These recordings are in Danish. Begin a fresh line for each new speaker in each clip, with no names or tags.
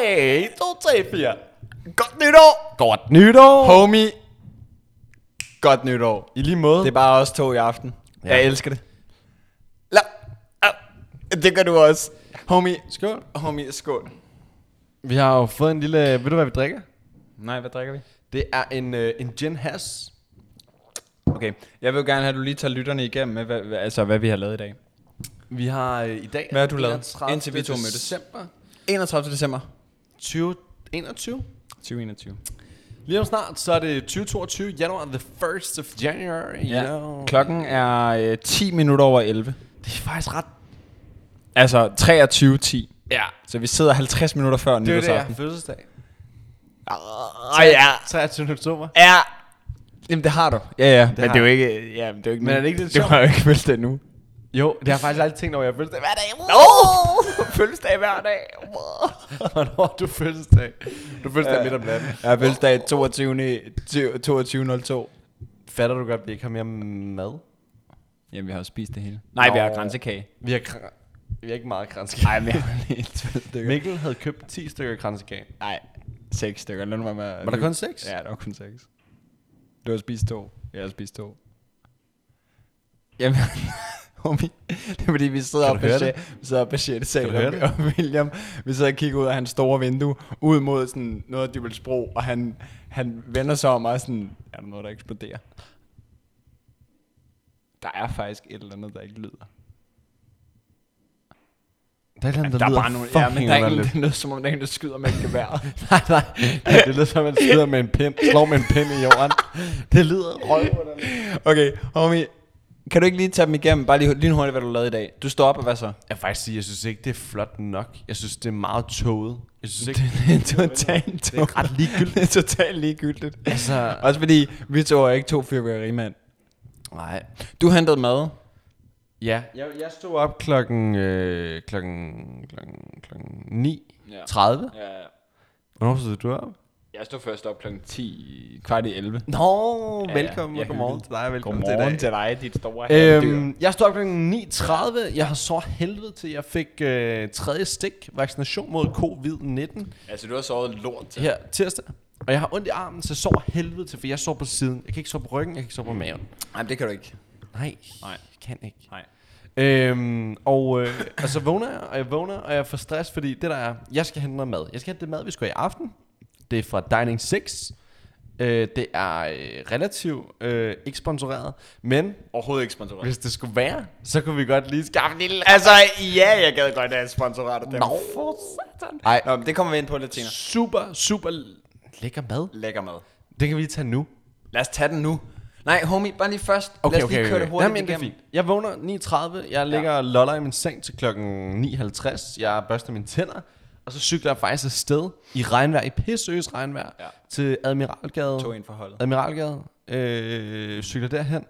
3, 2, 3, 4. Godt nytår!
Godt nytår!
Homie, godt nytår.
I lige måde.
Det er bare os to i aften. Ja. Jeg elsker det.
La, au.
Det gør du også. Homie,
Skål.
homie, skål.
Vi har jo fået en lille... Ved du, hvad vi drikker?
Nej, hvad drikker vi?
Det er en, øh, en gin has.
Okay, jeg vil jo gerne have, at du lige tager lytterne igennem med, hvad, hvad, altså, hvad vi har lavet i dag.
Vi har øh, i dag...
Hvad har du lavet,
31.
indtil vi to mødtes?
december
31. december
2021.
2021.
Lige om snart, så er det 2022, januar, the 1st of January, you
Ja.
know.
Klokken er øh, 10 minutter over 11.
Det er faktisk ret...
Altså 23.10.
Ja,
Så vi sidder 50 minutter før
det er jo det, jeg har
nytårsaften.
fødselsdag.
Åh ja.
23. oktober.
Ja. Jamen det har du. Ja, ja. Det
har
men det er jo ikke... Ja, men det er jo ikke
Men er
min-
det ikke lidt
Du
sjovt?
har jo ikke meldt det endnu.
Jo, det har jeg faktisk aldrig tænkt over, jeg har fødselsdag. Hvad er det?
Oh! Fødselsdag hver dag.
Hvornår har du fødselsdag? Du har fødselsdag midt om natten.
Jeg har fødselsdag 22. 22.02.
Fatter du godt, at vi ikke har mere mad?
Jamen, vi har jo spist det hele. Nej, vi har grænsekage.
Vi har, kra- vi har ikke meget kransekage.
Nej, vi har helt 12 stykker.
Mikkel havde købt 10 stykker kransekage.
Nej, 6 stykker. Lad nu mig med. at
Var der
lyve.
kun seks?
Ja, der var kun 6. Du har spist to. Jeg har spist to. Jamen, homie, det er fordi, vi sidder
Kan
oppe
du
på,
høre
sjæ- vi sidder oppe på 6.
Kan
sal,
du høre
og,
det?
og William, vi sidder og kigger ud af hans store vindue, ud mod sådan noget af Dybels Bro, og han, han vender sig om og er sådan, er der noget, der eksploderer? Der er faktisk et eller andet, der ikke lyder.
Der er,
Jamen, Altså, der, der er bare nogle, ja, men der er ikke, det er noget, som om der er en, der skyder med et gevær.
Nej, nej. Ja, det lyder som, at man skyder med en pind, slår med en pind i jorden. Det lyder røv.
Okay, homie, kan du ikke lige tage dem igennem, bare lige lynhurtigt, hvad du lavede i dag? Du står op, og hvad så?
Jeg vil faktisk sige, jeg synes ikke, det er flot nok. Jeg synes, det er meget tåget. Jeg synes ikke...
Det er totalt
Det er ret ligegyldigt.
Det er totalt ligegyldigt.
Altså...
Også fordi, vi to er ikke to fyrværkerimand.
Nej.
Du hentede mad.
Ja, jeg, jeg stod op klokken... Øh, klokken... Klokken... Klokken 9.
Ja.
30.
Ja,
Hvornår stod du op?
jeg stod først op klokken 10, kvart i 11.
Nå,
Ja,
velkommen
ja,
og godmorgen
hyggeligt.
til dig. og Velkommen
Godmorgen
til
til dig, dit store
dig.
øhm,
Øhm, jeg stod op kl. 9.30. Jeg har så helvede til, jeg fik øh, tredje stik vaccination mod covid-19
Altså, du har sovet lort til.
her tirsdag. Og jeg har ondt i armen, så jeg sover helvede til, for jeg sover på siden. Jeg kan ikke sove på ryggen, jeg kan ikke sove på maven.
Nej, det kan du ikke.
Nej,
Nej.
jeg kan ikke.
Nej.
Øhm, og, øh, og så vågner jeg, og jeg vågner, og jeg får stress, fordi det der er, jeg skal hente noget mad. Jeg skal hente det mad, vi skal have i aften. Det er fra Dining 6. Øh, det er øh, relativt øh, ikke sponsoreret, men
Overhovedet ikke sponsoreret.
hvis det skulle være, så kunne vi godt lige skaffe en lille...
Altså, ja, jeg gad godt have et sponsorat af dem.
Nå,
for satan. Nej, Nå, men det kommer vi ind på lidt senere.
Super, super lækker mad.
Lækker mad.
Det kan vi lige tage nu.
Lad os tage den nu. Nej, homie, bare lige først. Lad os lige køre det hurtigt
Jamen, det er
igennem.
fint. Jeg vågner 9.30, jeg ligger og loller i min seng til klokken 9.50, jeg børster mine tænder, og så cykler jeg faktisk afsted i regnvejr, i pisseøs regnvejr,
Ja.
til Admiralgade.
To en for holdet.
Admiralgade. Øh, cykler derhen.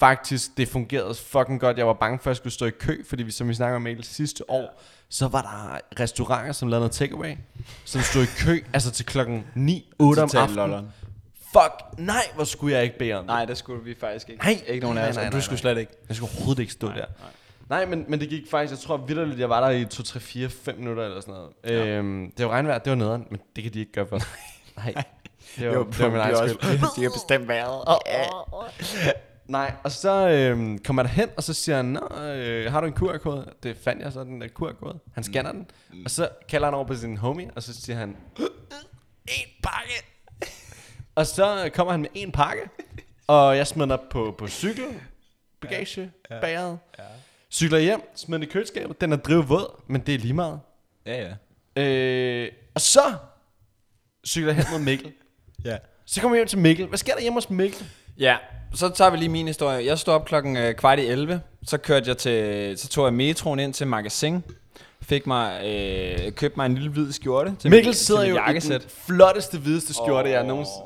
Faktisk, det fungerede fucking godt. Jeg var bange for, at jeg skulle stå i kø, fordi vi, som vi snakker om Mikkel, sidste år, så var der restauranter, som lavede noget takeaway, som stod i kø, altså til klokken 9, 8 om
Total
aftenen.
lolleren.
Fuck, nej, hvor skulle jeg ikke bede om det.
Nej, det skulle vi faktisk ikke.
Nej,
ikke nogen af
nej,
os.
nej,
og
nej,
Du skulle
nej.
slet ikke.
Jeg skulle overhovedet ikke stå nej, der. Nej. Nej, men, men det gik faktisk, jeg tror vidderligt, jeg var der i 2, 3, 4, 5 minutter eller sådan noget. Ja. Øhm, det var regnvejr, det var nederen, men det kan de ikke gøre for os. Nej, det var, det var, det var min egen skyld.
De har bestemt været. Oh, oh.
Nej, og så øhm, kommer jeg derhen, og så siger han, Nå, øh, har du en QR-kode? Det fandt jeg så, den der QR-kode. Han scanner mm. den, og så kalder han over på sin homie, og så siger han, en pakke! og så kommer han med en pakke, og jeg smider den op på, på cykel, bagage, ja. bæret. Ja. Cykler hjem, smider den i køleskabet, den er drivvåd, men det er lige meget.
Ja, ja.
Øh, og så cykler jeg hen mod Mikkel.
Ja.
Så kommer jeg hjem til Mikkel. Hvad sker der hjemme hos Mikkel?
Ja, så tager vi lige min historie. Jeg stod op klokken øh, kvart i 11, så kørte jeg til, så tog jeg metroen ind til magasin, fik mig, øh, købte mig en lille hvid skjorte til
Mikkel
mit-
sidder
til mit
jo
jakkesæt.
i den flotteste, hvideste skjorte, oh. jeg nogensinde...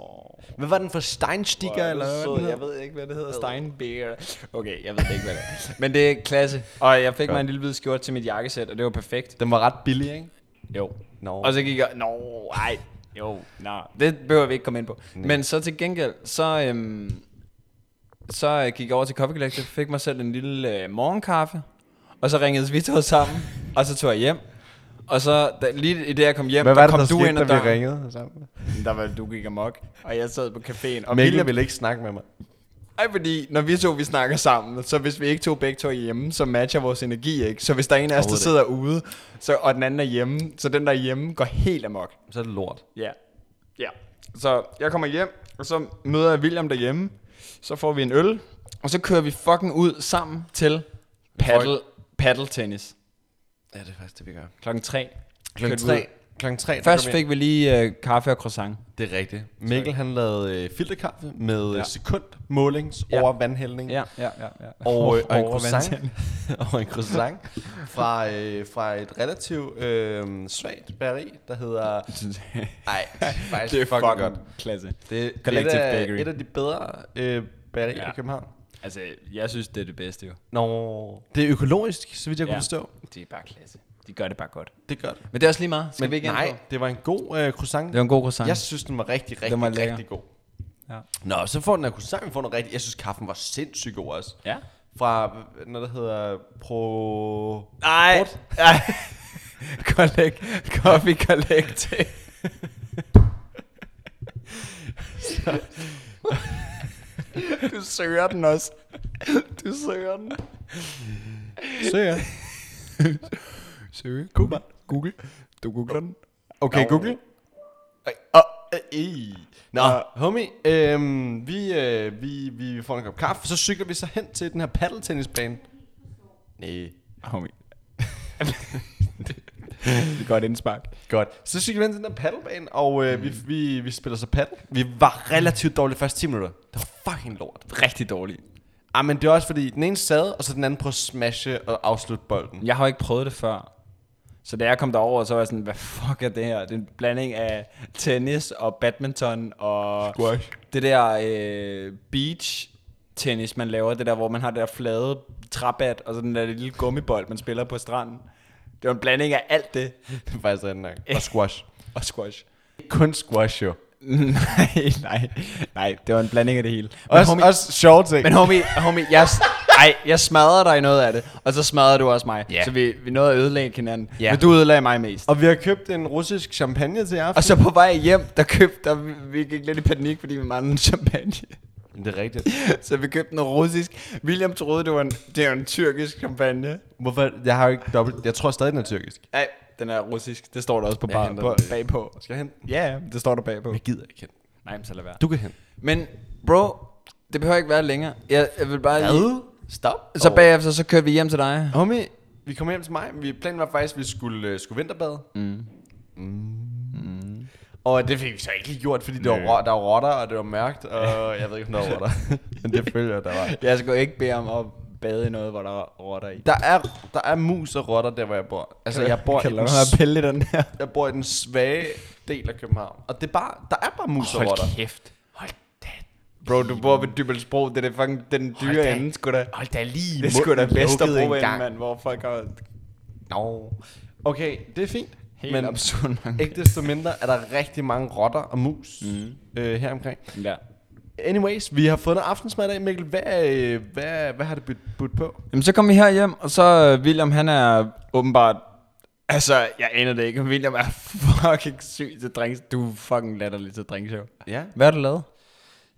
Hvad var den for? Steinsticker, eller hvad var den
Jeg
hed?
ved ikke, hvad det hedder. Steinbeer. Okay, jeg ved ikke, hvad det er. Men det er klasse. Og jeg fik mig en lille hvid skjorte til mit jakkesæt, og det var perfekt.
Den var ret billig, ikke?
Jo.
Nå.
Og så gik jeg, nå, ej, jo, nej. Det behøver vi ikke komme ind på. Men så til gengæld, så, øhm, så øh, gik jeg over til Coffee Collective, fik mig selv en lille øh, morgenkaffe, og så ringede vi to sammen, og så tog jeg hjem. Og så da, lige i det, jeg kom hjem,
Hvad
der
var det,
kom
der
du ind
skete,
ad
da vi
døren.
ringede sammen?
Der var, du gik amok, og jeg sad på caféen.
Mikkel
Og Mikkel,
ville ikke snakke med mig.
Ej, fordi når vi to vi snakker sammen, så hvis vi ikke to begge to er hjemme, så matcher vores energi ikke. Så hvis der er en af os, der sidder ude, så, og den anden er hjemme, så den der er hjemme går helt amok.
Så er det lort.
Ja. Ja. Så jeg kommer hjem, og så møder jeg William derhjemme. Så får vi en øl, og så kører vi fucking ud sammen til paddle, paddle tennis.
Ja, det er faktisk det, vi gør.
Klokken tre.
Klokken
Kørte vi ud.
tre. Klokken tre. der
Først
kom jeg-
fik vi lige øh, kaffe og croissant.
Det er rigtigt. Mikkel han lavede øh, filterkaffe med ja. sekundmålings
Ja.
over vandhældning.
Ja, ja, ja. ja.
Og, øh, og, en
Over
croissant,
vandtanden.
og en croissant fra, øh, fra et relativt øh, svagt bageri, der hedder... Nej, faktisk
det er
fucking
fucking
godt.
klasse.
Det er et
Collective
af,
Bakery.
et af de bedre øh, bagerier
Ja.
ja. i København.
Altså, jeg synes, det er det bedste jo.
Nå, det er økologisk, så vidt jeg ja. kunne forstå.
Det er bare klasse. De gør det bare godt.
Det gør det.
Men det er også lige meget. Skal vi ikke ind
nej,
på?
det var en god øh, croissant.
Det var en god croissant.
Jeg synes, den var rigtig, rigtig,
Den var lækker.
rigtig god.
Ja.
Nå, så får den her croissant, vi får den rigtig... Jeg synes, kaffen var sindssygt god også.
Ja.
Fra øh, noget, der hedder Pro...
Nej. Nej. Collect. Coffee collect. du søger den også. Du søger den.
Søger.
Søge. Google. Google. Du googler den.
Okay,
Nå.
Google. Ej, åh, øh, ej. Nå, homie, øhm, vi, øh, vi, vi får en kop kaffe, så cykler vi så hen til den her paddeltennisbane. Nej.
Homie. det er godt indspark.
Godt. Så cykler vi hen til den her paddelbane, og øh, vi,
Mm.
vi, vi spiller så paddel. Vi var relativt dårlige de første 10 minutter. Det var fucking lort.
Rigtig dårligt.
Ah, men det er også fordi, den ene sad, og så den anden prøvede at smashe og afslutte bolden.
Jeg har jo ikke prøvet det før. Så da jeg kom derover, så var jeg sådan, hvad fuck er det her? Det er en blanding af tennis og badminton og
Squash.
det der øh, beach tennis, man laver. Det der, hvor man har det der flade træbat og så den der lille gummibold, man spiller på stranden. Det var en blanding af alt det
Det er faktisk rigtig nok. Og squash.
og squash.
Kun squash, jo.
nej, nej, nej, det var en blanding af det hele. Men
Også,
homie-
også sjove ting.
Men homie, homie jeg, ej, jeg smadrede dig i noget af det, og så smadrede du også mig.
Ja.
Så vi, vi nåede at ødelægge hinanden,
Ja.
men du ødelagde mig mest.
Og vi har købt en russisk champagne til i aften.
Og så på vej hjem, der købte der, vi, vi gik lidt i panik, fordi vi manglede champagne.
Det er rigtigt.
Så vi købte noget russisk. William troede, det var en, det var en tyrkisk champagne.
Hvorfor? Jeg har jo ikke dobbelt... Jeg tror stadig, den er tyrkisk.
Nej, den er russisk. Det står der også på
Jeg
baren
henter
på,
den.
bagpå.
Skal jeg hente?
Ja, ja, det står der bagpå.
Jeg gider ikke hente.
Nej, men så lad være.
Du kan hente.
Men bro, det behøver ikke være længere. Jeg, jeg vil bare lige...
Stop.
Så bagefter, så kørte vi hjem til dig.
Homie, vi kom hjem til mig. men Vi planen var faktisk, at vi skulle, øh, skulle vinterbade. Mm. Mm. Og det fik vi så ikke lige gjort, fordi det var, rå- der var rotter, og det var mørkt, og jeg ved ikke, om der var rotter. Men det følger jeg, der var.
Jeg skulle ikke bede om at bade i noget, hvor der er rotter i.
Der er, der er mus og rotter, der hvor jeg bor. Altså, jeg bor, i
kan
den,
lade mig
s-
pille i den her.
jeg bor i den svage del af København. Og det er bare, der er bare mus og rotter.
kæft.
Hold da,
Bro, du bor ved Dybelsbro. Det er det fucking den
Hold
dyre
da-
ende, sgu da.
hold da lige
Det er sgu da
munden lukket
Vesterbro
en
en
gang.
mand, hvor folk har
Nå. Okay, det er fint.
helt
men
men absurd mange.
ikke desto mindre er der rigtig mange rotter og mus mm. øh, her omkring.
Ja.
Anyways, vi har fået noget aftensmad i dag, Mikkel. Hvad, øh, hvad, hvad har det budt, budt på?
Jamen, så kom vi her hjem, og så øh, William, han er åbenbart... Altså, jeg aner det ikke. William er fucking syg til drinks. Du er fucking latterlig til drinkshow.
Ja.
Hvad har du lavet?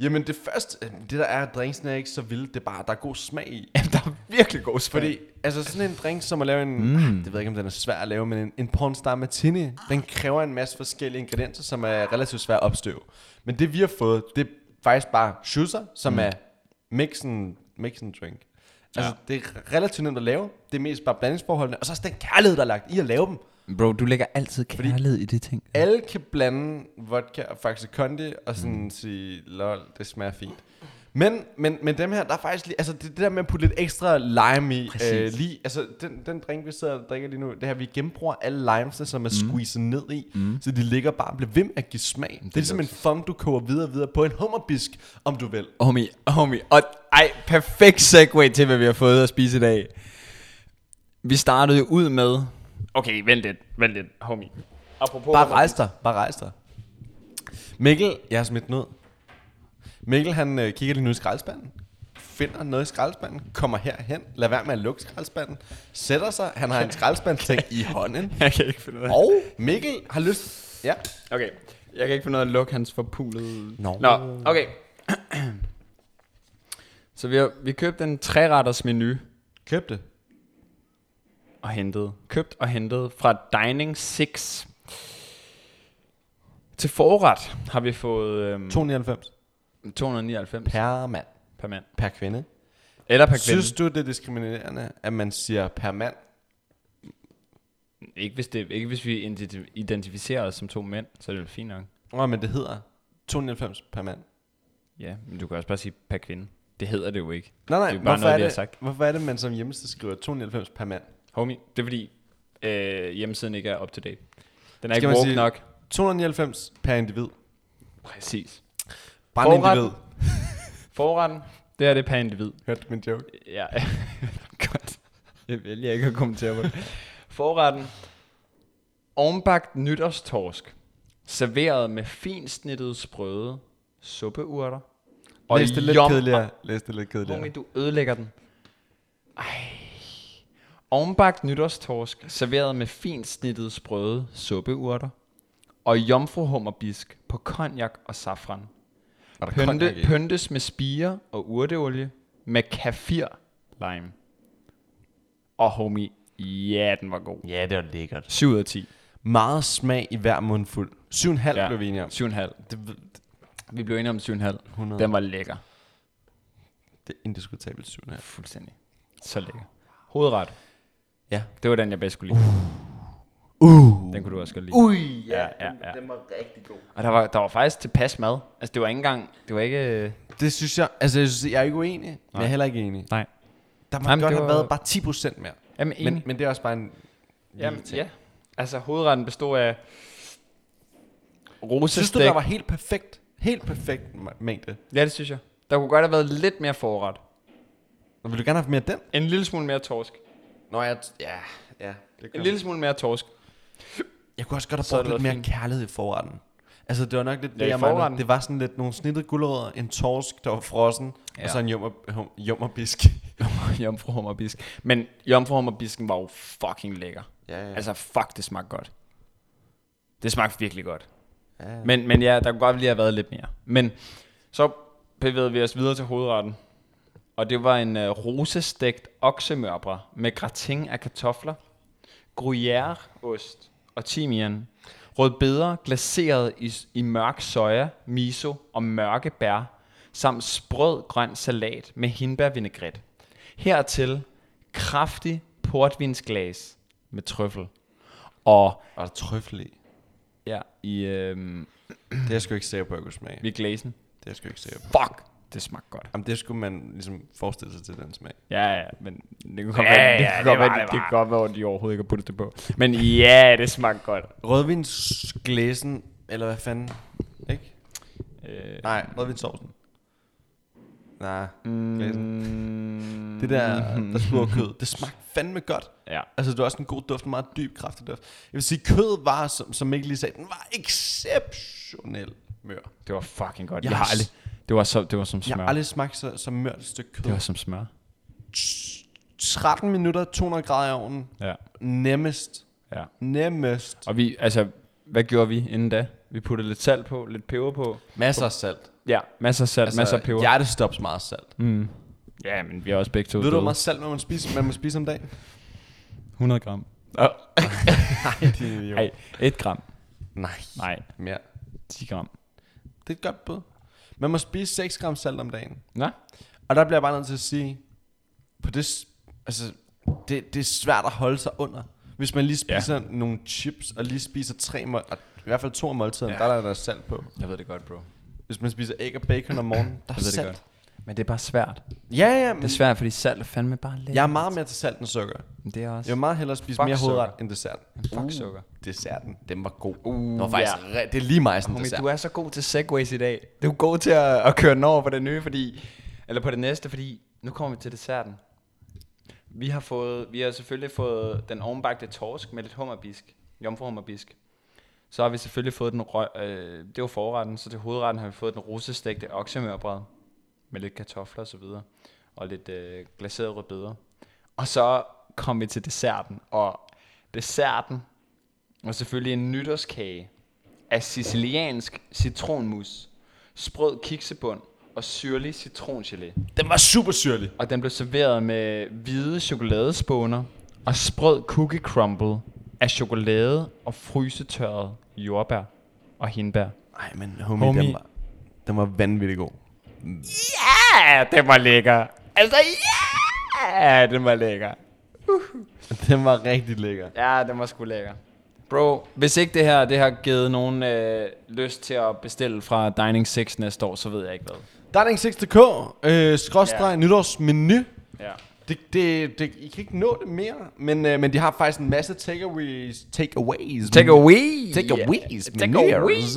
Jamen det første, øh, det der er, at drinksen er ikke så vild. Det er bare, der er god smag i.
Jamen, der er virkelig god smag.
Fordi, altså sådan en drink, som at lave en, mm. ah, det ved jeg ikke, om den er svær at lave, men en, en pornstar martini, den kræver en masse forskellige ingredienser, som er relativt svært at opstøve. Men det vi har fået, det er faktisk bare schusser, som mm. er mixen, mixen drink. Altså, ja. det er relativt nemt at lave. Det er mest bare blandingsforholdene. Og så også den kærlighed, der er lagt i at lave dem.
Bro, du lægger altid kærlighed i det ting.
Alle kan blande vodka og Faxe Kondi og sådan mm. sige, lol, det smager fint. Men, men, men dem her, der er faktisk lige, altså det, det der med at putte lidt ekstra lime i, øh, lige, altså den, den drink, vi sidder og drikker lige nu, det her, vi genbruger alle limesene, som er mm. squeezet ned i, mm. så de ligger bare og bliver ved med at give smag. Det, det er ligesom en fond, du koger videre og videre på en hummerbisk, om du vil.
Homie, homie. Og ej, perfekt segue til, hvad vi har fået at spise i dag. Vi startede jo ud med... Okay, vent lidt, vent lidt, homie. Apropos...
Bare rejs dig, bare rejs dig. Mikkel, jeg har smidt den ud. Mikkel, han øh, kigger lige nu i skraldespanden. finder noget i skraldespanden, kommer herhen, lad være med at lukke skraldespanden, sætter sig, han har en skraldespandting i hånden,
Jeg kan ikke finde ud af
og Mikkel har lyst... Ja,
Okay, jeg kan ikke finde ud af at lukke hans forpulede...
Nå.
Nå, okay. Så vi, har, vi købte en træretters menu
køb det.
og hentede. Købt og hentet fra Dining 6. Til forret har vi fået øhm,
299
299 per,
per mand,
per mand.
per kvinde.
Eller per kvinde.
Synes du, det er diskriminerende, at man siger per mand?
Ikke hvis, det, ikke hvis vi identi- identificerer os som to mænd, så er det vel fint nok.
Nå, men det hedder 299 per mand.
Ja, men du kan også bare sige per kvinde. Det hedder det jo ikke.
Nej, nej,
Det er bare
hvorfor,
noget,
er
vi har
det,
sagt.
hvorfor er det, man som hjemmested skriver 299 per mand?
Homie, det er fordi øh, hjemmesiden ikke er up to date. Den er
Skal
ikke
man
woke
sige-
nok.
299 per individ.
Præcis.
Bare en
Forret.
individ.
Forretten, det her det er per individ.
Hørte du min joke?
Ja, godt. Jeg vælger ikke at kommentere på det. Forretten. Ovenbagt nytårstorsk. Serveret med finsnittede sprøde suppeurter.
Og Ah. Læs det lidt
jom-
kedeligere. Læs det lidt kedeligere.
Homie, du ødelægger den. Ej. Ovenbagt nytårstorsk, serveret med fint snittede sprøde suppeurter. Og jomfruhummerbisk på konjak og safran.
Og der er konjak
Pynte,
i.
pyntes med spire og urteolie med kafir lime. Og homie, ja, den var god.
Ja, det var lækkert.
7 ud af 10.
Meget smag i hver mundfuld. 7,5 ja.
Ja.
blev vi enige om.
7,5.
Det, ved-
Vi blev enige om 7,5.
100.
Den var lækker.
det er indiskutabelt 7,5.
Fuldstændig. Så lækker. Hovedret.
Ja.
Det var den, jeg bedst kunne lide.
Uh.
Den kunne du også godt lide.
Ui,
ja, ja, ja.
Den var rigtig god.
Og der var, der var faktisk tilpas mad. Altså, det var ikke engang... Det var ikke... øh,
Det synes jeg, altså jeg, synes, jeg er ikke uenig, Nej. men jeg er heller ikke enig.
Nej.
Der må
Jamen,
godt
det
have
var-
været bare 10% mere.
Jamen, enig.
Men, men det er også bare en...
Jamen,
lille ting.
ja. Altså, hovedretten bestod af...
Synes
Rosestik.
du, der var helt perfekt? Helt perfekt ma- mængde.
Ja, det synes jeg. Der kunne godt have været lidt mere forret.
Og vil du gerne have mere af den?
En lille smule mere torsk.
Nå, jeg... Ja, ja. Det
En lille smule mere torsk.
Jeg kunne også godt
Så
have
havde
brugt lidt mere
det været
fint. kærlighed i forretten. Altså, det var nok lidt det,
Ja, i
jeg manglede.
forretten.
Det var sådan lidt nogle snittede gulerødder, en torsk, der var frossen, ja.
Ja.
og så en jummer, hum- jummerbisk.
Jomfruhummerbisk. Men jomfruhummerbisken var jo fucking lækker.
Ja, ja.
Altså, fuck, det smagte godt. Det smagte virkelig godt.
Ja, ja.
Men, men ja, der kunne godt lige have været lidt mere. Men så bevægede vi os videre til hovedretten. Og det var en øh, rosestegt oksemørbre med gratin af kartofler, gruyèreost og timian, rødbeder glaseret i, i mørk soja, miso og mørke bær, samt sprød grøn salat med hindbærvinaigrette. Hertil kraftig portvinsglas med trøffel. Og
Og der er trøffel i.
ja, i, øhm,
Det er jeg sgu ikke sikker på, at jeg kunne smage.
i glasen.
Det er jeg sgu ikke sikker på.
Fuck, det smagte godt.
Jamen, det skulle man ligesom forestille sig til den smag.
Ja, ja, men det kunne godt
Ja,
være, det,
ja,
kunne
det
godt
var
være,
det
det, det
bare.
kunne godt være, at de overhovedet ikke har puttet det på. Men ja, det smagte godt.
Rødvinsglæsen, eller hvad fanden? Ikke?
Øh,
Nej, rødvinssovsen. Nej, glæsen.
mm,
Det der, der skulle over kød, det smagte fandme godt.
Ja,
Altså, det var også en god duft, en meget dyb, kraftig duft. Jeg vil sige, kødet var, som, som Mikkel lige sagde, den var exceptionel mør.
det var fucking godt.
Jeg
Jeg har
har
aldrig... Det var, så, det var som
Jeg
smør.
har aldrig smagt så, så mørt et stykke kød.
Det var som smør.
13 minutter, 200 grader i ovnen.
Ja,
Nemmest.
ja.
Nemmest.
Og vi, altså, hvad gjorde vi inden da? Vi puttede lidt salt på, lidt peber på.
Masser af salt.
Ja, masser af salt, altså, masser af peber. Ja.
Hjertestops meget salt.
Mm. ja, men vi er også begge to
Ved du, hvor
døde.
meget salt man må spise, man må spise om dagen?
100 gram.
Nej, din idiot.
Nej, 1 gram.
Nej.
Nej,
Mere.
10 gram.
Det er et godt bud. Man må spise 6 gram salt om dagen.
Nå?
Og der bliver jeg bare nødt til at sige, på det, s- altså, det, det er svært at holde sig under. Hvis man lige
Ja.
spiser ja. nogle chips, og lige spiser tre mål, og i hvert fald to af måltiderne,
Ja.
ja. der er der salt på.
Jeg ved det godt, bro.
Hvis man spiser æg og bacon om morgenen, der er
Jeg ved det
salt.
godt. Men det er bare svært.
Ja, ja, men
Det er svært, fordi salt er fandme bare lidt.
jeg er meget mere til salt end sukker.
Men Det er også...
Jeg vil meget hellere spise
Fuck
mere hovedret
sukker.
end dessert.
Fuck sukker.
Desserten, den var god. Uh,
var faktisk
det er lige mig sådan
Homie, du er så god til segways i dag. Du er god til at, at køre den over på det nye, fordi... Eller på det næste, fordi... Nu kommer vi til desserten. Vi har, fået, vi har selvfølgelig fået den ovenbagte torsk med lidt hummerbisk. Jomfruhummerbisk. Så har vi selvfølgelig fået den... Rø- øh, det var forretten, så til hovedretten har vi fået den russestegte oksemørbrad. Med lidt kartofler og så videre. og lidt øh, glaseret rødbeder. Og så kom vi til desserten, og desserten var selvfølgelig en nytårskage af siciliansk citronmus, sprød kiksebund og syrlig citrongelé.
Den var super syrlig.
Og den blev serveret med hvide chokoladespåner og sprød cookie crumble af chokolade og frysetørret jordbær og hindbær.
Nej, men homie, homie. Den, var, den var vanvittig god.
Ja, det var lækker. Altså, ja, det var lækker.
Den var rigtig lækker.
Ja, den var sgu lækker. Bro, hvis ikke det her det har givet nogen øh, lyst til at bestille fra Dining 6 næste år, så ved jeg ikke hvad.
Darling6.dk, øh, skråstreg,
Ja.
ja. nytårsmenu.
Ja.
Det, det, det, I kan ikke nå det mere, men, øh, men de har faktisk en masse takeaways. Takeaways.
Mm.
Takeaways.
away. Takeaways.
Takeaways.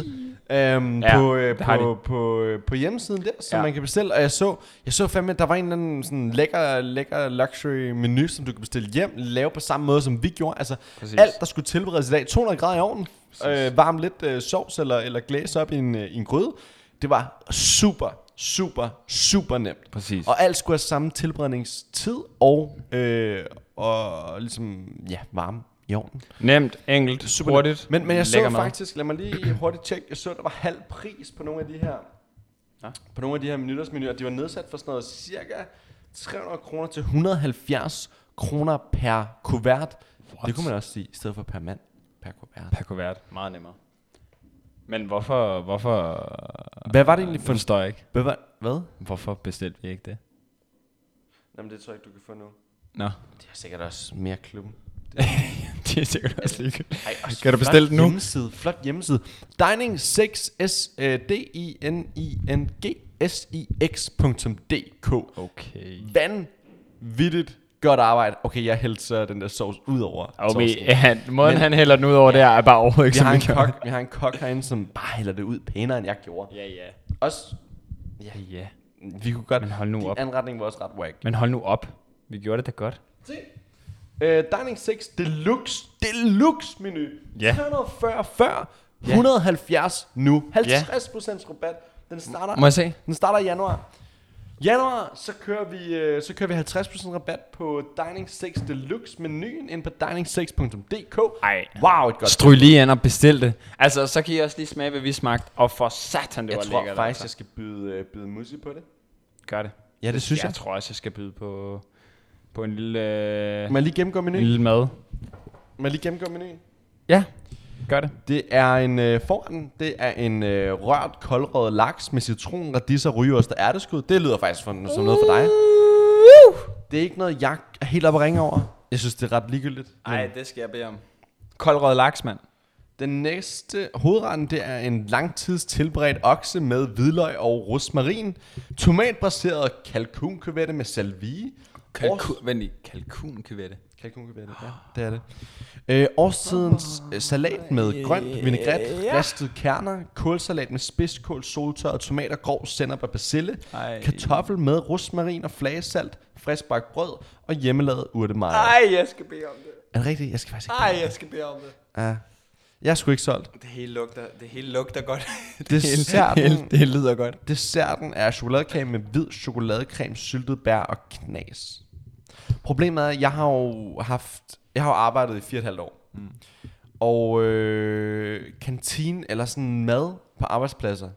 Øhm,
Ja,
ja, på, øh,
det har
på, på, øh, på hjemmesiden der, som
Ja.
ja. man kan bestille. Og jeg så, jeg så fandme, at der var en eller anden sådan lækker, lækker luxury menu, som du kan bestille hjem, lave på samme måde, som vi gjorde. Altså
Præcis.
Præcis. alt, der skulle tilberedes i dag, 200 grader i ovnen, øh, varm lidt øh, sovs eller, eller glæs op i en, øh, i en gryde. Det var super, super, super nemt.
Præcis.
Og alt skulle have samme tilberedningstid og, øh, og ligesom, ja, varme i ovnen.
Nemt, enkelt,
Super
hurtigt.
nemt. Men, men jeg
lækker
så
mad.
faktisk, lad mig lige hurtigt tjekke, jeg så, der var halv pris på nogle af de her,
Nå.
ja. på nogle af de her nytårsmenuer. De var nedsat for sådan noget cirka 300 kroner til 170 kroner per kuvert. What? Det kunne man også sige, i stedet for per mand, per kuvert.
Per kuvert. Meget nemmere. Men hvorfor, hvorfor
Hvad var det egentlig for en...
forstår jeg ikke?
Hvad? Var, hvad?
Hvorfor bestilte vi ikke det?
Jamen, det tror jeg ikke, du kan få nu.
Nå,
Det er sikkert også mere klubben.
det er sikkert også ligegyldigt.
Ej, også
Kan du
flot
bestille den nu?
Hjemmeside, flot hjemmeside. Dining 6 s øh, d i n i n g s i x.dk.
Okay.
Vanvittigt godt arbejde. Okay, jeg hældte så den der sovs ud over.
Og
sovsen.
vi, ja, måden
Men-
han hælder den ud over ja. der, er bare overhovedet ikke,
vi,
som
har en
gjorde det.
kok, vi har en kok herinde, som bare hælder det ud pænere, end jeg gjorde.
Ja, ja.
Også,
Ja, ja.
vi kunne godt...
Men hold nu
din
op.
anretning var også ret whack.
Men hold nu op. Vi gjorde det da godt.
Se. Øh, Dining 6 Deluxe, Deluxe menu.
Ja.
340 før,
Ja.
170 nu. 50% rabat. Den starter,
Må jeg se?
den starter i januar. Januar, så kører vi, øh, så kører vi 50% rabat på Dining 6 Deluxe menuen ind på dining6.dk.
Ej.
Wow, et godt
Stryg lige ind og bestil det. Altså, så kan I også lige smage, hvad vi smagte. Og for satan, det
Jeg
var
tror
lækkert.
faktisk, jeg
altså.
skal byde, øh, byde Musi på det.
Gør det.
Ja, det synes
Jeg
jeg.
tror også, jeg skal byde på, på en lille, øh,
Må jeg lige gennemgå
en
menuen?
lille mad.
Må jeg lige gennemgå menuen?
Ja, gør det.
Det er en øh, foran, det er en øh, rørt koldrøget laks med citron, radis og rygeost og ærteskud. Det lyder faktisk for, som noget for dig. Det er ikke noget, jeg er helt oppe at ringe over. Jeg synes, det er ret ligegyldigt.
Nej, det skal jeg bede om. Koldrød laks, mand.
Den næste hovedretten, det er en langtids tilberedt okse med hvidløg og rosmarin, tomatbaseret kalkunkøvette med salvie.
Kalkun, vent lige. Kalkunkøvette.
Kalkunkøvette, ja, det er det. Øh, årstidens øh, salat med grønt vinaigrette,
Ja.
ristede kerner, kålsalat med spidskål, soltørret tomater, grov sennep og persille,
Ej.
kartoffel med rosmarin og flagesalt, friskbagt brød og hjemmelavet urtemajer.
jeg skal bede om det.
Er det rigtigt? Jeg skal faktisk ikke...
Ej, jeg skal bede om det.
Ja. Jeg er sgu ikke solgt.
Det hele lugter, det hele lugter godt. det,
Desserten-
det lyder godt.
Desserten er chokoladekage med hvid chokoladecreme, syltet bær og knas. Problemet er, at jeg har jo haft, jeg har jo arbejdet i 4,5 år. Mm. Og øh, kantine eller sådan mad på arbejdspladser,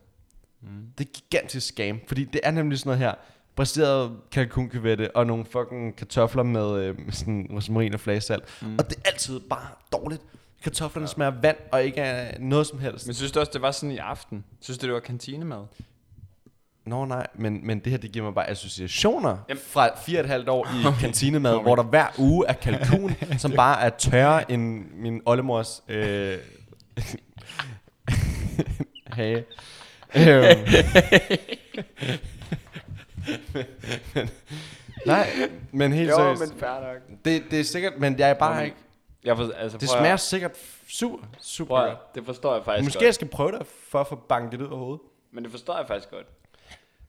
mm. det er gigantisk scam. Fordi det er nemlig sådan noget her, baseret kalkunkøvette og nogle fucking kartofler med, øh, med sådan rosmarin og flagesalt. Mm. Og det er altid bare dårligt. Kartoflerne ja. smager af vand og ikke af noget som helst.
Men synes du også, det var sådan i aften? Synes du, det var kantinemad?
Nå nej, men, men det her det giver mig bare associationer
Jamen.
Jamen. fra fire og et halvt år i kantinemad, hvor der hver uge er kalkun, som bare er tørre end min oldemors øh, hage. Øhm. nej, men helt seriøst.
fair nok.
Det, det er sikkert, men jeg er bare ikke...
Jeg for, altså,
Det
prøv at-
smager sikkert super, super
Prøv at,
godt.
det forstår jeg faktisk
Måske
godt.
jeg skal prøve det for at få banket det ud af hovedet.
Men det forstår jeg faktisk godt.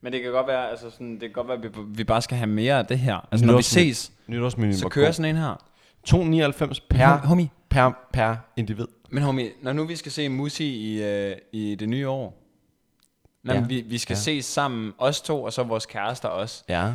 Men det kan godt være, altså sådan, det kan godt være, at vi, vi bare skal have mere af det her. Altså, når vi
Nytårsmenu.
ses,
Nytårsmenuen
så
var
kører
god.
sådan en her.
2,99 per,
Hom- homie.
per, per individ.
Men homie, når nu vi skal se Musi i, øh, i det nye år, Nå,
Ja.
men vi, vi skal ja.
Ja.
ses sammen, os to, og så vores kærester også.
Ja.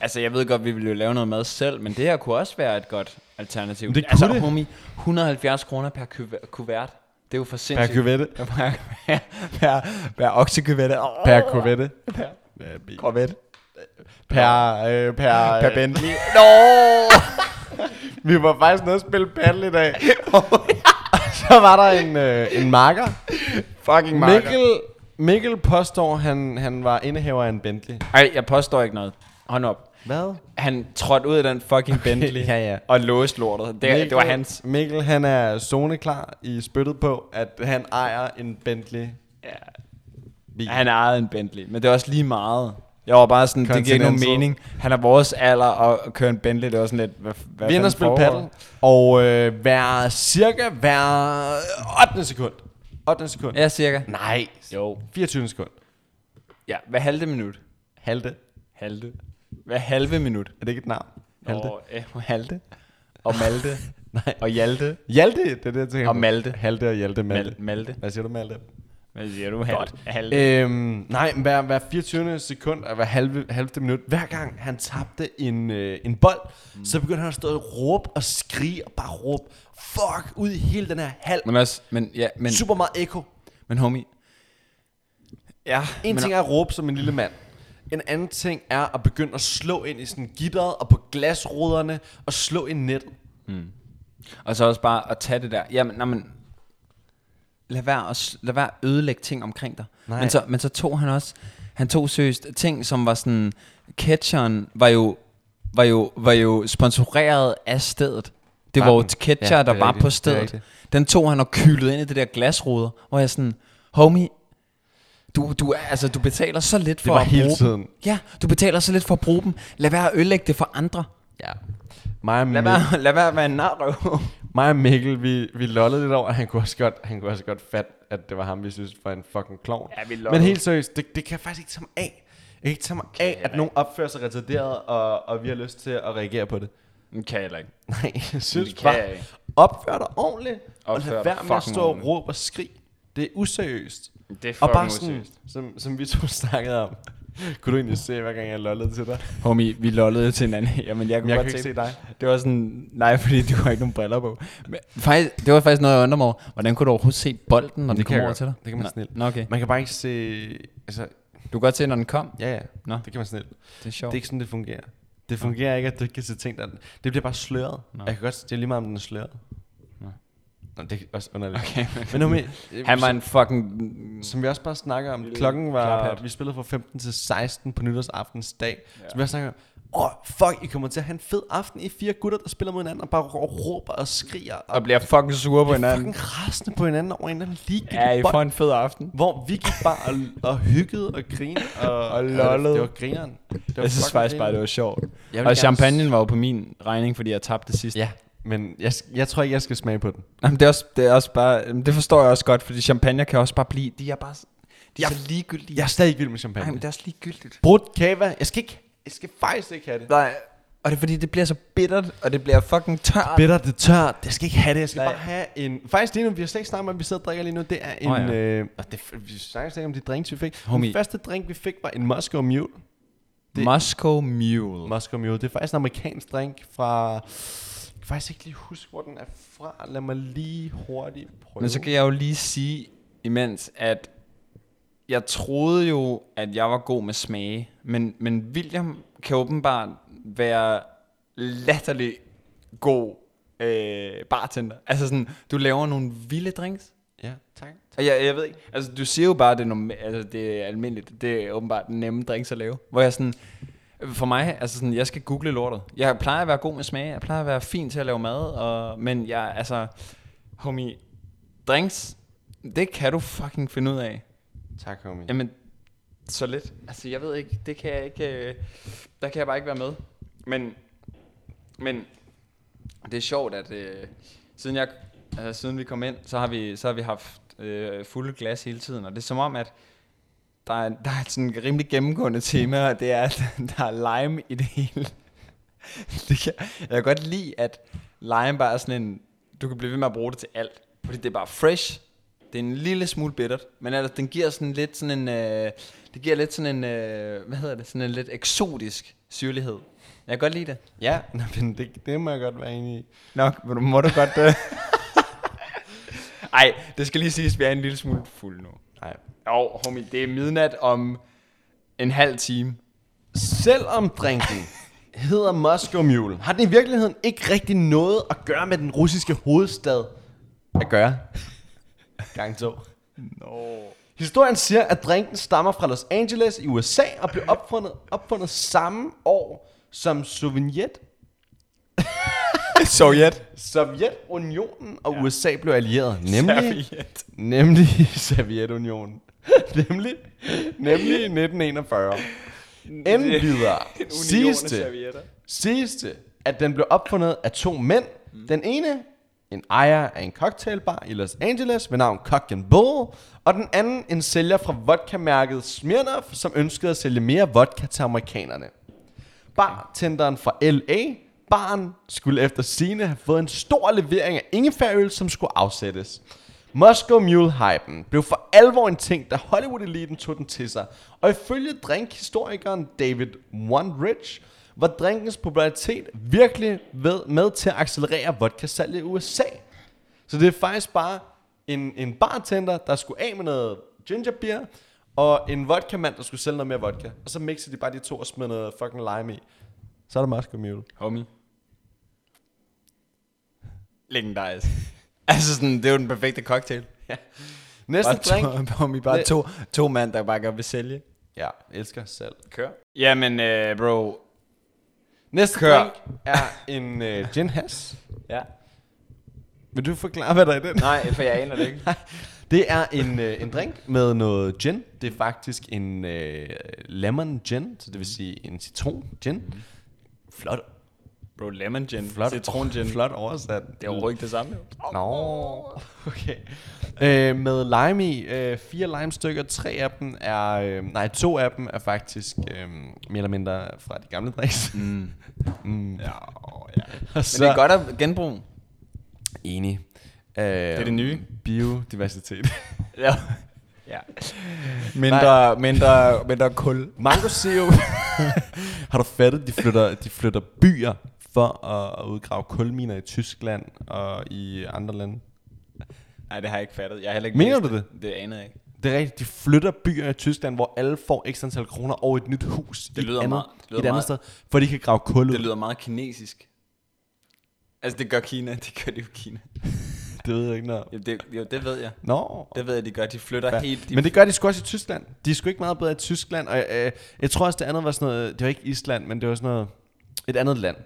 Altså, jeg ved godt, vi ville jo lave noget mad selv, men det her kunne også være et godt alternativ.
Men det
altså,
kunne det.
homie, 170 kroner per kuver- kuvert. Det er jo for
Per
sindssygt.
kuvette.
Per, per, per, per oksekuvette. Oh,
Per kuvette.
per,
Per, bil.
korvet.
per, øh, per,
Per Bentley.
Nå! Vi var faktisk nede og spille paddle i dag. så var der en, øh, en marker.
Fucking
Mikkel, Mikkel påstår, han, han var indehaver af en Bentley.
Ej, jeg påstår ikke noget. Hånd op.
Hvad?
Han trådte ud af den fucking Bentley
Ja, ja.
og låste lortet. Det, det var hans.
Mikkel, han er zoneklar i spyttet på, at han ejer en Bentley.
Ja,
Bil.
Han ejede en Bentley, men det er også lige meget. Jeg var bare sådan, det giver ikke nogen
Continental.
mening. Han er vores alder, og at køre en Bentley, det er også sådan lidt... Hvad, hvad
Vi ender
fanden
at spille paddle,
foregår?
og øh, hver cirka hver 8. sekund. 8. sekund.
Ja, cirka.
Nej.
Jo.
24. sekund.
Ja, hver halve minut.
Halte.
Halte. Hver halve minut.
Er det ikke et navn? Halte.
Og, øh, halte. Og Malte. Nej. Og Hjalte.
Hjalte, det er det, jeg tænker
Og
på.
Malte.
Halte og Hjalte Malte.
Mal- Malte. Øh,
Hvad siger du, Malte?
Hvad siger du? Halte. Halte.
Øhm, nej, men hver, hver 24. sekund og hver halve, halve minut, hver gang han tabte en, øh, en bold, mm. så begyndte han at stå og råbe og skrige og bare råbe, fuck, ud i hele den her halv.
Men også, men, ja, men,
Super meget ekko.
men homie. Ja,
En
men,
ting er at råbe som en lille mand. En anden ting er at begynde at slå ind i sådan gitteret og på glasruderne og slå i nettet.
Og så også bare at tage det der. Jamen, nej, men lad være, at, s- lad være at ødelægge ting omkring dig.
Nej.
Men så, men så tog han også, han tog seriøst ting, som var sådan, catcheren var jo, var jo, var jo sponsoreret af stedet. Det var
Var
jo
den?
catcher,
Ja,
ja,
det
der
er
var
rigtigt, det
på
er
stedet.
rigtigt.
Den tog han og kyldede ind i det der glasruder, hvor jeg sådan, homie, du, du, er- altså, du betaler så lidt for
var
at
hele
bruge
tiden.
dem. Ja, du betaler så lidt for at bruge dem. Lad være at ødelægge det for andre.
Ja. Mig og
Lad
Mikkel,
være, lad være at være en nardo.
mig og Mikkel vi, vi lollede lidt over, at han kunne, også godt, han kunne også godt fat, at det var ham, vi synes var en fucking klovn.
Ja, vi lollede.
Men helt seriøst, det, det kan jeg faktisk ikke tage mig af. Jeg kan ikke tage mig af, at nogen opfører sig retarderet, og, og vi har lyst til at reagere på det.
Kan jeg heller ikke.
Nej, jeg synes
det kan jeg
bare,
ikke.
opfør dig ordentligt,
Opfør
og lad
dig
være med at
fucking
stå og
ordentligt.
råbe og skrige. Det er useriøst.
Det er
Og bare sådan, som, som vi to snakkede om. Kunne du egentlig se, hver gang jeg lollede til dig?
Homie, vi lollede til hinanden. Jamen, jeg kunne
Jeg
godt
kan ikke se dig.
Det var sådan, nej, fordi du har ikke nogen briller på. Men faktisk, det var faktisk noget, jeg undrer mig over. Hvordan kunne du overhovedet se bolden, når den
Det kan
kom
jeg
over
godt.
til dig?
Det kan man
Nå,
snilt.
Nå, okay.
Man kan bare ikke se... Altså,
Du kan godt se, når den kom.
ja ja,
Nå.
det kan man snilt.
Det er sjovt.
Det er ikke sådan, det fungerer. Det fungerer ikke, at du ikke kan se ting, der... Det bliver bare sløret.
Nå.
Jeg kan godt... Det er lige meget, om den er sløret.
Nå.
Nå, det er også underligt.
Okay, men-
men nu med,
Han var en fucking...
som vi også bare snakker om,
Lille
klokken var,
klaphat.
vi spillede fra 15 til 16 på nytårsaftens dag, ja.
Ja.
som vi også snakker om, åh, oh, fuck, I kommer til at have en fed aften, I er fire gutter, der spiller mod hinanden, og bare rå- råber og skriger, og,
Og bliver fucking sure på
bliver
hinanden.
fucking rasende på hinanden over en eller anden
Ja, I
ligegyldig
får
bold,
en fed aften.
hvor vi gik bare og, og hyggede og grinede, og,
Og
det,
lollede.
det var grineren. Det var
Jeg synes
fucking
faktisk bare, det
grineren.
var sjovt.
Jeg vil
Og
gerne-
champagnen var jo på min regning, fordi jeg tabte det sidste.
Ja, men jeg, jeg tror ikke, jeg skal smage på den.
Jamen, det, er også, det er også bare... jamen, Det forstår jeg også godt, fordi champagne kan også bare blive... De er bare... De er
Jeg-
så ligegyldige.
Jeg er stadig ikke vild med
Ej, men
champagne.
det er også ligegyldigt.
Brudt kava, jeg skal ikke, jeg skal faktisk ikke have det.
Nej, og det er fordi, det bliver så bittert, og det bliver fucking tørt.
bitter, det er tørt. Jeg skal ikke have det. Jeg skal Nej.
Nej.
bare have en... Faktisk lige nu, vi har slet ikke snakket om, at vi sidder og drikker lige nu. Det er en... Oh,
Åh, ja.
ja. øh, og det, vi snakker slet ikke om de drinks, vi fik.
Homie.
Den første drink, vi fik, var en Moscow Mule. det-
Moscow Mule.
Moscow Mule. Det er faktisk en amerikansk drink fra... Jeg kan faktisk ikke lige huske, hvor den er fra. Lad mig lige hurtigt prøve.
Men så kan jeg jo lige sige imens, at jeg troede jo, at jeg var god med smage, men, men William kan åbenbart være latterlig god øh, bartender. Altså sådan, du laver nogle vilde drinks,
Ja, tak.
Og jeg, jeg ved ikke, altså du siger jo bare, at det er, norma- altså, det er almindeligt, det er åbenbart den nemme drinks at lave. Hvor jeg sådan, for mig, altså sådan, jeg skal google lortet. Jeg plejer at være god med smag, jeg plejer at være fin til at lave mad, og, men jeg, altså, homie, drinks, det kan du fucking finde ud af.
Tak, homie.
Jamen, så lidt. Altså, jeg ved ikke, det kan jeg ikke, øh, der kan jeg bare ikke være med. Men, men det er sjovt, at øh, siden, jeg, altså, siden vi kom ind, så har vi, så har vi haft øh, fulde glas hele tiden, og det er som om, at der er, der er et sådan rimelig gennemgående tema, og det er, at der er lime i det hele. Det kan, jeg kan godt lide, at lime bare er sådan en, du kan blive ved med at bruge det til alt, fordi det er bare fresh, det er en lille smule bittert, men altså, ellers, den giver sådan lidt sådan en, øh, det giver lidt sådan en, øh, hvad hedder det, sådan en lidt eksotisk syrlighed. Jeg kan godt lide det.
Ja, Nå, men det, det må jeg godt være enig i.
Nok, men må du godt... Øh... Ej, det skal lige siges, vi er en lille smule fuld nu.
Nej.
Jo, homie, det er midnat om en halv time.
Selvom drinken hedder Moscow Mule, har den i virkeligheden ikke rigtig noget at gøre med den russiske hovedstad at gøre. Gang to.
No.
Historien siger, at drinken stammer fra Los Angeles i USA og blev opfundet, opfundet samme år som Sovjet,
Sovjet.
Sovjetunionen og USA blev allieret. Nemlig,
Serviet.
nemlig Sovjetunionen. nemlig, nemlig i 1941. Endvidere siges det, siges det, at den blev opfundet af to mænd. Den ene, en ejer af en cocktailbar i Los Angeles ved navn Cock and Bull, og den anden en sælger fra vodka-mærket Smirnoff, som ønskede at sælge mere vodka til amerikanerne. Bartenderen fra L.A., baren, skulle efter sine have fået en stor levering af ingefærøl, som skulle afsættes. Moscow Mule-hypen blev for alvor en ting, da Hollywood-eliten tog den til sig, og ifølge drinkhistorikeren David Wondrich var drinkens popularitet virkelig ved, med til at accelerere vodka-salget i USA. Så det er faktisk bare en, en bartender, der skulle af med noget ginger beer, og en vodka-mand, der skulle sælge noget mere vodka. Og så mixede de bare de to og smed noget fucking lime i. Så er der Moscow Mule.
Homie. Legendarisk. altså sådan, det er jo den perfekte cocktail.
Næste
Bare
drink.
to, homie, bare
Det-
to, to mand, der bare gerne vil sælge.
Ja, elsker selv.
Kør. Jamen, øh, bro.
Næste
Kør.
drink er en øh, gin has.
Ja.
Vil du forklare, hvad der er i den?
Nej, for jeg aner det ikke.
Det er en, øh, en drink med noget gin. Det er faktisk en øh, lemon gin, så det
Mhm.
vil sige en citron gin. Flot,
Bro, lemon gin.
flot,
Citron gin.
flot oversat.
Det er overhovedet ikke det samme. jo.
Nå, okay. Øh, med lime i, øh, fire limestykker, tre af dem er, øh, nej, to af dem er faktisk øh, mere eller mindre fra de gamle drinks. Mm. mm. Ja, ja. Og
Men
så,
det er godt at genbruge.
Enig. Øh, det
er det nye.
Biodiversitet.
Ja. ja. Mindre, mindre, mindre kul.
Mango CO. Har du fattet, de flytter, de flytter byer for at, at udgrave kulminer i Tyskland og i andre lande?
Nej, det har jeg ikke fattet. Jeg har heller ikke
Mener
læst
du
det? Det anede jeg ikke.
Det er rigtigt, de flytter byer i Tyskland, hvor alle får ekstra antal kroner over et nyt hus i et
lyder
andet,
meget- det lyder
i et andet
meget-
sted, for de kan grave kul ud.
Det lyder meget kinesisk. Altså, det gør Kina. Det gør det jo Kina.
det ved jeg ikke noget. om.
Jo, det, jo, det ved jeg.
Nå,
Det ved jeg, de gør. De flytter
Ja.
helt... De
Men det gør de sgu også i Tyskland. De er sgu ikke meget bedre i Tyskland. Og øh, jeg tror også, det andet var sådan noget... Det var ikke Island, men det var sådan noget... Et andet land.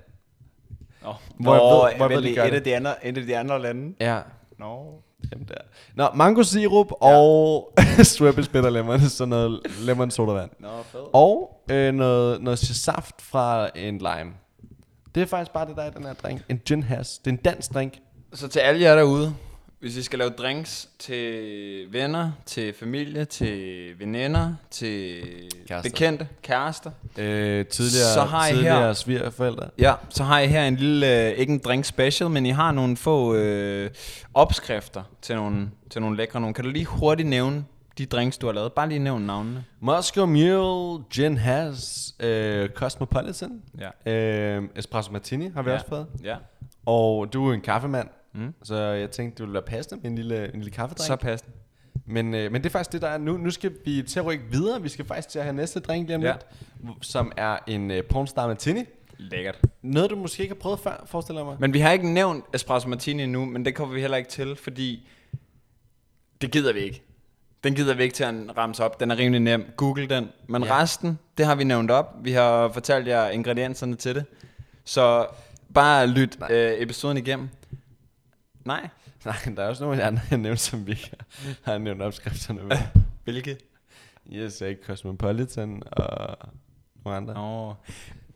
Nå,
Hvor jeg ved- hvor jeg ved, de
det
gør
er et
det.
af de andre, et af de andre lande.
Ja.
Nå.
Dem der. Nå, mango sirup og Swirbel Spitter Lemon. Sådan noget lemon sodavand.
Nå, fed.
Og øh, noget, noget saft fra en lime. Det er faktisk bare det, der er i den her drink. En gin has. Det er en dansk drink.
Så til alle jer derude, hvis I skal lave drinks til venner, til familie, til veninder, til
Kærester.
kærester. bekendte, kærester,
Øh, tidligere
Så har I
tidligere
her-
svigerforældre.
Ja, så har I her en lille, øh, ikke en drink special, men I har nogle få øh, opskrifter til nogle, til nogle lækre nogle. Kan du lige hurtigt nævne de drinks, du har lavet? Bare lige nævne navnene.
Moscow Mule, Gin Has, øh, Cosmopolitan,
Ja.
øh, Espresso Martini har vi ja.
Ja.
også fået.
Ja.
Og du er en kaffemand, mm.
Mm.
så jeg tænkte, det ville være passende med en lille, en lille kaffedrink.
Så
Så.
passende.
Men, øh, men det er faktisk det, der er nu. Nu skal vi til at rykke videre. Vi skal faktisk til at have næste drink lige om
Ja.
lidt, hv- som er en øh, Pornstar Martini.
Lækkert.
Noget, du måske ikke har prøvet før, forestiller jeg mig.
Men vi har ikke nævnt Espresso Martini endnu, men det kommer vi heller ikke til, fordi det gider vi ikke. Den gider vi ikke til at ramse op. Den er rimelig nem. Google den. Men
Ja.
ja. resten, det har vi nævnt op. Vi har fortalt jer ingredienserne til det. Så bare lyt øh, episoden igennem. Nej.
Nej, der er også nogle andre, jeg nævnte, som vi ikke har- har nævnt opskrifterne ved.
Hvilke?
yes, jeg er Cosmopolitan og nogle andre.
Oh.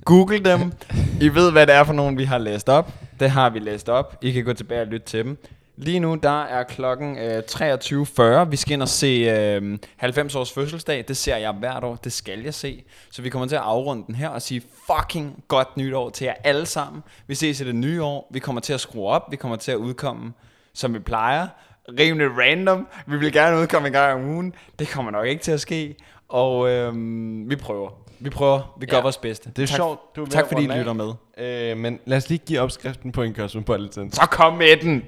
Google dem. I ved, hvad det er for nogen, vi har læst op. Det har vi læst op. I kan gå tilbage og lytte til dem. Lige nu, der er klokken øh, 23.40. Vi skal ind og se øh, 90 års fødselsdag. Det ser jeg hvert år. Det skal jeg se. Så vi kommer til at afrunde den her og sige fucking godt nytår til jer alle sammen. Vi ses i det nye år. Vi kommer til at skrue op. Vi kommer til at udkomme, som vi plejer. Rimelig random. Vi vil gerne udkomme en gang om ugen. Det kommer nok ikke til at ske. Og øhm, vi prøver. Vi prøver. Vi gør
Ja.
vores bedste.
Det er
tak,
sjovt, du er
Du
ved
tak
at
fordi I
runde af.
lytter med.
Øh, men lad os lige give opskriften på en Cosmopolitan.
Så kom med den.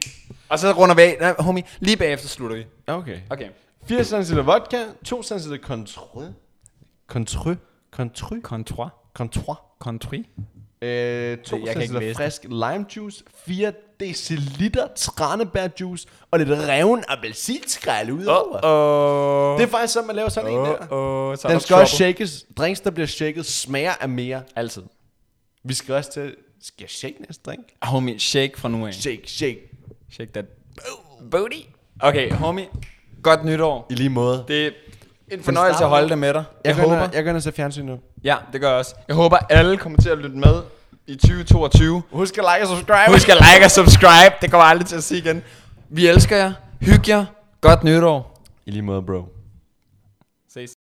Og så runder vi af. Nej, homie. Lige bagefter slutter vi.
Okay.
Okay.
4 cl vodka, 2 cl contru, contru, contru,
Contois.
contru,
Contri.
øh, 2
Jeg kan ikke
cl
læse
frisk lime juice, 4 deciliter tranebærjuice og lidt reven appelsinskræl udover. Oh,
Åh.
oh. Det er faktisk sådan, man laver sådan oh, en der.
Åh, så er
Den
der
skal også
trouble.
shakes. Drinks, der bliver shaket, smager af mere.
Altid.
Vi skal også til... Skal jeg shake næste drink?
Homie, shake fra nu af.
Shake, shake.
Shake that booty. Okay, homie. Godt nytår.
I lige måde.
Det er en fornøjelse at holde det med dig.
Jeg,
Jeg,
jeg
håber.
håber... Jeg går ind og ser fjernsyn nu.
Ja, det gør jeg også. Jeg håber, alle kommer til at lytte med i 2022.
Husk at like og subscribe.
Husk at like og subscribe. Det kommer jeg aldrig til at sige igen. Vi elsker jer. Hyg jer. Godt nytår.
I lige måde, bro.
Ses.